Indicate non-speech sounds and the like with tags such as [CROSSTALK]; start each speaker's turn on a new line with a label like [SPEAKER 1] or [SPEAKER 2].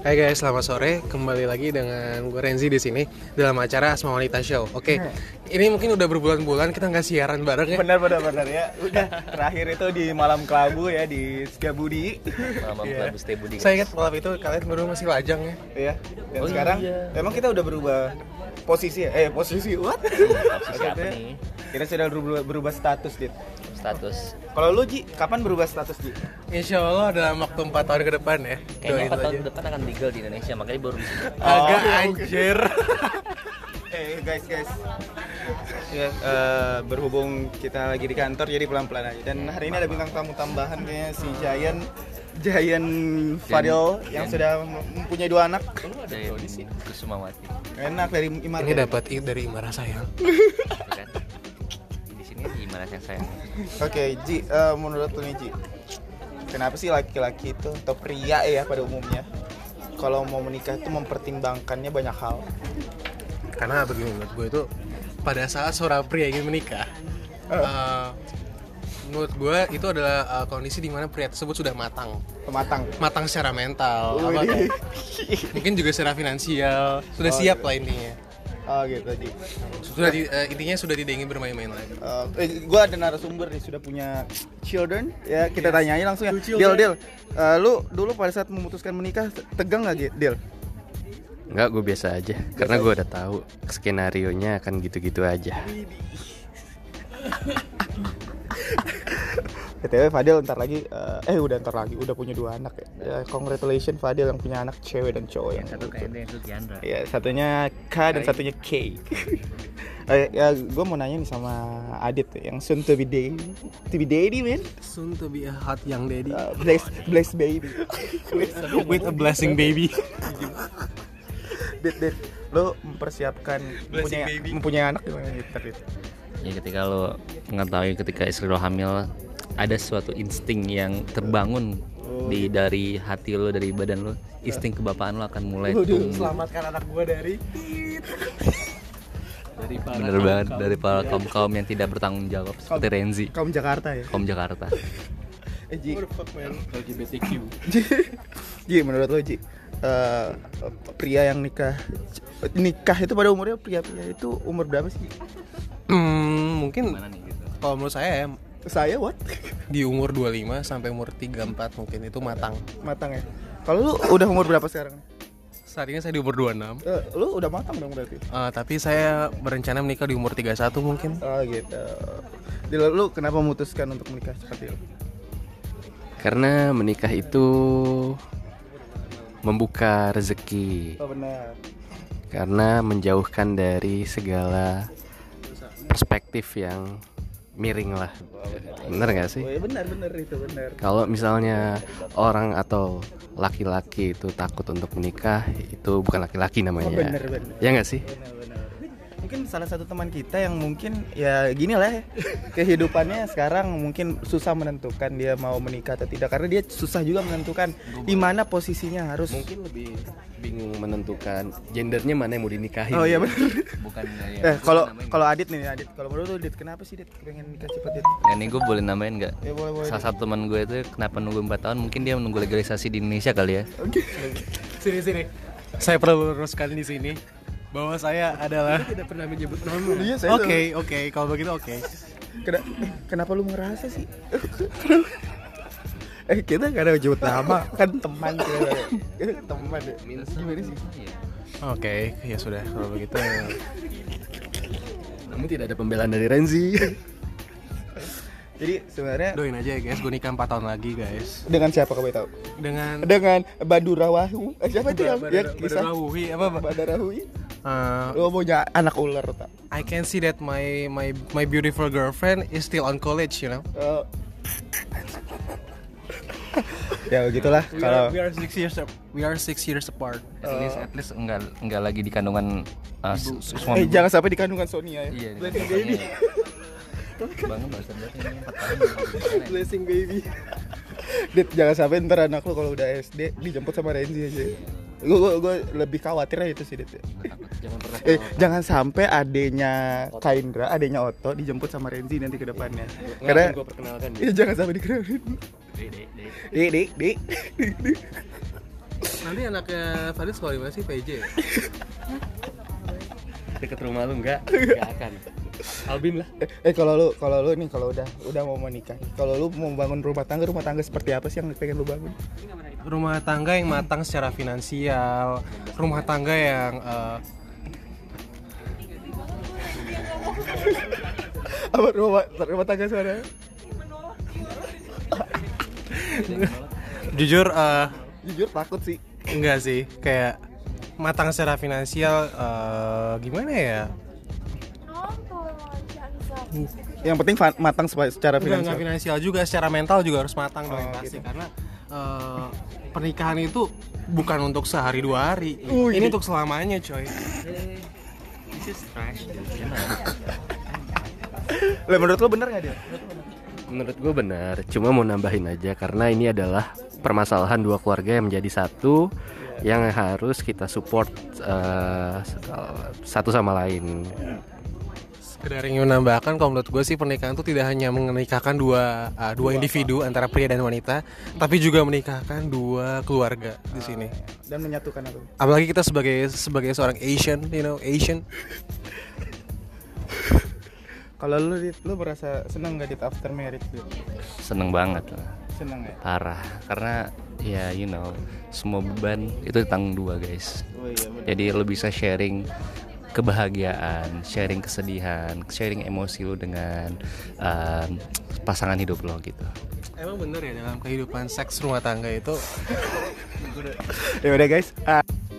[SPEAKER 1] Hai guys, selamat sore. Kembali lagi dengan gue Renzi di sini dalam acara Asma Wanita Show. Oke,
[SPEAKER 2] Iya.
[SPEAKER 1] ini mungkin udah berbulan-bulan kita nggak siaran bareng ya.
[SPEAKER 3] Benar benar benar ya. Udah terakhir itu di malam kelabu ya di Setiabudi.
[SPEAKER 2] Malam
[SPEAKER 3] Iya.
[SPEAKER 2] Club Stay Budi. kan,
[SPEAKER 1] Saya ingat malam itu kalian baru masih lajang ya.
[SPEAKER 3] ya. Dan
[SPEAKER 2] Oh
[SPEAKER 3] sekarang
[SPEAKER 2] iya.
[SPEAKER 3] memang kita udah berubah posisi ya? Eh posisi what?
[SPEAKER 2] Posisi apa
[SPEAKER 3] Maksudnya,
[SPEAKER 2] nih?
[SPEAKER 3] Kita sudah berubah, berubah status, Dit.
[SPEAKER 2] Status
[SPEAKER 3] Kalau lu Ji, kapan berubah status, Ji?
[SPEAKER 1] Insya Allah dalam waktu 4 tahun ke depan ya.
[SPEAKER 2] kayaknya
[SPEAKER 1] Doain
[SPEAKER 2] empat tahun
[SPEAKER 1] aja.
[SPEAKER 2] depan Oh, iya. akan legal di Indonesia, makanya baru [LAUGHS] bisa.
[SPEAKER 1] Agak
[SPEAKER 2] [LAUGHS]
[SPEAKER 1] anjir.
[SPEAKER 3] Eh guys, guys. Ya, eh, berhubung kita lagi di kantor jadi pelan-pelan aja. Dan hari ini ada bintang tamu tambahan kayaknya si Jayan Jayan Fadil yang sudah mempunyai dua anak.
[SPEAKER 2] Dari Kusumawati.
[SPEAKER 3] Enak dari Imar. ya.
[SPEAKER 1] ini dapat i- dari Imara sayang.
[SPEAKER 2] Gitu kan? Di sini di mana yang saya?
[SPEAKER 3] Oke, Ji, eh, menurut lu nih Ji, kenapa sih laki-laki itu atau pria ya pada umumnya kalau mau menikah itu mempertimbangkannya banyak hal.
[SPEAKER 1] Karena begini menurut gue itu pada saat seorang pria ingin menikah, eh, menurut gue itu adalah eh, kondisi di mana pria tersebut sudah matang,
[SPEAKER 3] Pematang.
[SPEAKER 1] matang secara mental, apa
[SPEAKER 3] Widih.
[SPEAKER 1] kayak- [LAUGHS] mungkin juga secara finansial sudah
[SPEAKER 3] Oh,
[SPEAKER 1] siap
[SPEAKER 3] iya.
[SPEAKER 1] lah intinya
[SPEAKER 3] Oh gitu Ji.
[SPEAKER 1] sudah di- eh, intinya sudah tidak ingin bermain-main lagi
[SPEAKER 3] Eh, eh, gua ada narasumber nih sudah punya children ya kita tanyain langsung ya. Deal deal. Eh, lu dulu pada saat memutuskan menikah tegang nggak Ji? Deal?
[SPEAKER 4] Enggak, gue biasa aja. Karena gue udah tahu skenario nya akan gitu-gitu aja.
[SPEAKER 3] PTW Fadil ntar lagi eh, eh udah ntar lagi udah punya dua anak ya. Eh, congratulations Fadil yang punya anak cewek dan cowok yang
[SPEAKER 2] Satu KMD yang itu Diandra.
[SPEAKER 3] Ya, satunya K dan satunya K. [LAUGHS] Eh, ya, gue mau nanya nih sama Adit yang soon to be day, to be daddy man,
[SPEAKER 1] soon to be a hot young daddy
[SPEAKER 3] uh, bless, bless [LAUGHS] baby.
[SPEAKER 1] with a blessing baby
[SPEAKER 3] [LAUGHS] Dit, Dit, lo mempersiapkan mempunyai, mempunyai anak gimana nih Dit?
[SPEAKER 2] Ya ketika lo mengetahui ketika istri lo hamil ada suatu insting yang terbangun di dari hati lo dari badan lo insting kebapaan lo akan mulai tumbuh
[SPEAKER 3] selamatkan anak gue dari.
[SPEAKER 2] bener banget dari para kaum kaum yang tidak bertanggung jawab seperti Renzi
[SPEAKER 3] Kaum Jakarta ya.
[SPEAKER 2] kaum Jakarta
[SPEAKER 3] Eh, Ji. LGBTQ. [LAUGHS] Ji, menurut lo Ji, eh, pria yang nikah nikah itu pada umurnya pria-pria itu umur berapa sih? Ji?
[SPEAKER 1] hmm, mungkin
[SPEAKER 2] mana nih gitu
[SPEAKER 1] kalau menurut saya ya,
[SPEAKER 3] Saya what? [LAUGHS]
[SPEAKER 1] di umur 25 sampai umur 34 mungkin itu matang
[SPEAKER 3] Matang ya. Kalau lu udah umur berapa sekarang?
[SPEAKER 1] saat ini saya di umur 26
[SPEAKER 3] Eh, lu udah matang dong berarti.
[SPEAKER 1] Eh, tapi saya berencana menikah di umur 31 mungkin
[SPEAKER 3] Oh gitu. Jadi lu kenapa memutuskan untuk menikah seperti itu?
[SPEAKER 4] Karena menikah itu membuka rezeki.
[SPEAKER 3] Oh benar.
[SPEAKER 4] Karena menjauhkan dari segala perspektif yang miring lah. Bener gak sih?
[SPEAKER 3] Oh iya benar benar itu benar.
[SPEAKER 4] Kalau misalnya orang atau laki-laki itu takut untuk menikah, itu bukan laki-laki namanya.
[SPEAKER 3] bener, bener.
[SPEAKER 4] Ya nggak sih?
[SPEAKER 3] Oh, Benar benar. Mungkin salah satu teman kita yang mungkin ya gini lah ya, kehidupannya sekarang mungkin susah menentukan dia mau menikah atau tidak karena dia susah juga menentukan di mana posisinya harus.
[SPEAKER 4] Mungkin lebih bingung menentukan gendernya mana yang mau dinikahin.
[SPEAKER 3] Oh iya benar.
[SPEAKER 2] bukan dari
[SPEAKER 3] Eh kalau kalau Adit nih Adit, kalau menurut lu Adit kenapa sih Adit pengen nikah cepat Adit?
[SPEAKER 2] ini gue boleh namain nggak
[SPEAKER 3] Ya boleh boleh.
[SPEAKER 2] salah satu teman gue itu kenapa nunggu 4 tahun mungkin dia menunggu legalisasi di Indonesia kali ya
[SPEAKER 1] sini sini saya perlu luruskan di sini bahwa saya adalah tidak pernah menyebut nama
[SPEAKER 3] Iya,
[SPEAKER 1] oke
[SPEAKER 3] saya
[SPEAKER 1] oke kalau begitu oke
[SPEAKER 3] Kena- eh, kenapa lu ngerasa sih? [LAUGHS] eh kita gak ada jemput nama kan teman kita teman ya. Gimana sih?
[SPEAKER 1] oke ya sudah kalau begitu
[SPEAKER 4] Namun tidak ada pembelaan dari Renzi.
[SPEAKER 3] Jadi sebenarnya
[SPEAKER 1] Doain aja ya guys, gue nikah 4 tahun lagi guys
[SPEAKER 3] dengan siapa kamu tahu?
[SPEAKER 1] Dengan
[SPEAKER 3] Dengan Badurawahu. Eh, siapa itu yang
[SPEAKER 1] Badar- Badar-
[SPEAKER 3] ya kisah
[SPEAKER 1] Badarawi, apa Pak?
[SPEAKER 3] Badarawi?
[SPEAKER 1] Eh,
[SPEAKER 3] Lu punya anak ular tak?
[SPEAKER 1] I can see that my my my beautiful girlfriend is still on college, you know.
[SPEAKER 3] Eh. [LAUGHS] ya begitulah kalau
[SPEAKER 1] we are six years ap- we are six years apart.
[SPEAKER 2] at least at least enggak enggak lagi di kandungan uh, su- su-
[SPEAKER 3] eh
[SPEAKER 2] suami gue.
[SPEAKER 3] jangan sampai di kandungan Sonia ya.
[SPEAKER 2] iya di
[SPEAKER 3] Blessing
[SPEAKER 2] kandungannya.
[SPEAKER 3] baby,
[SPEAKER 2] bangun barusan berarti ini empat tahun
[SPEAKER 3] blessing baby. Dit, jangan sampai ntar anak lu kalau udah SD dijemput sama Renzi
[SPEAKER 2] Iya.
[SPEAKER 3] aja. Gue gua, gua lebih khawatir aja itu sih Dit.
[SPEAKER 2] Gua takut. jangan pernah
[SPEAKER 3] Eh, jangan sampai adenya Kaindra, adenya Oto dijemput sama Renzi nanti ke depannya.
[SPEAKER 2] Iya,
[SPEAKER 3] Karena
[SPEAKER 4] gue [LAUGHS] perkenalkan.
[SPEAKER 3] Iya jangan sampai dikenalin. Dek, dek, dek.
[SPEAKER 1] Nanti anaknya Fadil sekolah di mana sih PJ? ya?
[SPEAKER 4] Deket rumah lu enggak? Enggak akan. Albin lah.
[SPEAKER 3] Eh, eh, kalau lu kalau lu nih kalau udah udah mau menikah, kalau lu mau bangun rumah tangga, rumah tangga seperti apa sih yang pengen lu bangun? [LAUGHS]
[SPEAKER 1] Rumah tangga yang matang secara finansial, rumah tangga yang eh,
[SPEAKER 3] Apa rumah rumah tangga sebenarnya?
[SPEAKER 1] jujur eh,
[SPEAKER 3] Jujur takut sih.
[SPEAKER 1] enggak sih, kayak matang secara finansial eh, gimana ya?
[SPEAKER 3] Yang penting fa- matang sepa- secara
[SPEAKER 1] Enggak, enggak
[SPEAKER 3] finansial.
[SPEAKER 1] finansial juga, secara mental juga harus matang dong yang
[SPEAKER 3] Oh,
[SPEAKER 1] pasti
[SPEAKER 3] gitu.
[SPEAKER 1] karena eh, pernikahan itu bukan untuk sehari dua hari.
[SPEAKER 3] Wih.
[SPEAKER 1] Ini untuk selamanya, coy.
[SPEAKER 3] Lah menurut lu bener nggak dia?
[SPEAKER 4] Menurut gue benar, cuma mau nambahin aja karena ini adalah permasalahan dua keluarga yang menjadi satu yang harus kita support eh, satu sama lain.
[SPEAKER 1] Sekedar ingin menambahkan kalau menurut gue sih pernikahan itu tidak hanya menikahkan dua uh, dua individu antara pria dan wanita, tapi juga menikahkan dua keluarga
[SPEAKER 3] Ah.
[SPEAKER 1] di sini.
[SPEAKER 3] Dan menyatukan aku.
[SPEAKER 1] Apalagi kita sebagai sebagai seorang Asian, you know, Asian.
[SPEAKER 3] Kalau lu Dit, lu merasa senang nggak dit after marriage? Dit?
[SPEAKER 2] Seneng banget lah.
[SPEAKER 3] Senang ya?
[SPEAKER 2] Parah. Karena ya you know semua beban itu ditanggung dua guys.
[SPEAKER 3] Oh iya bener.
[SPEAKER 2] Jadi lo bisa sharing kebahagiaan, sharing kesedihan, sharing emosi lo dengan um, pasangan hidup lo gitu.
[SPEAKER 1] Emang bener ya dalam kehidupan seks rumah tangga itu
[SPEAKER 3] Ya udah guys. Ah.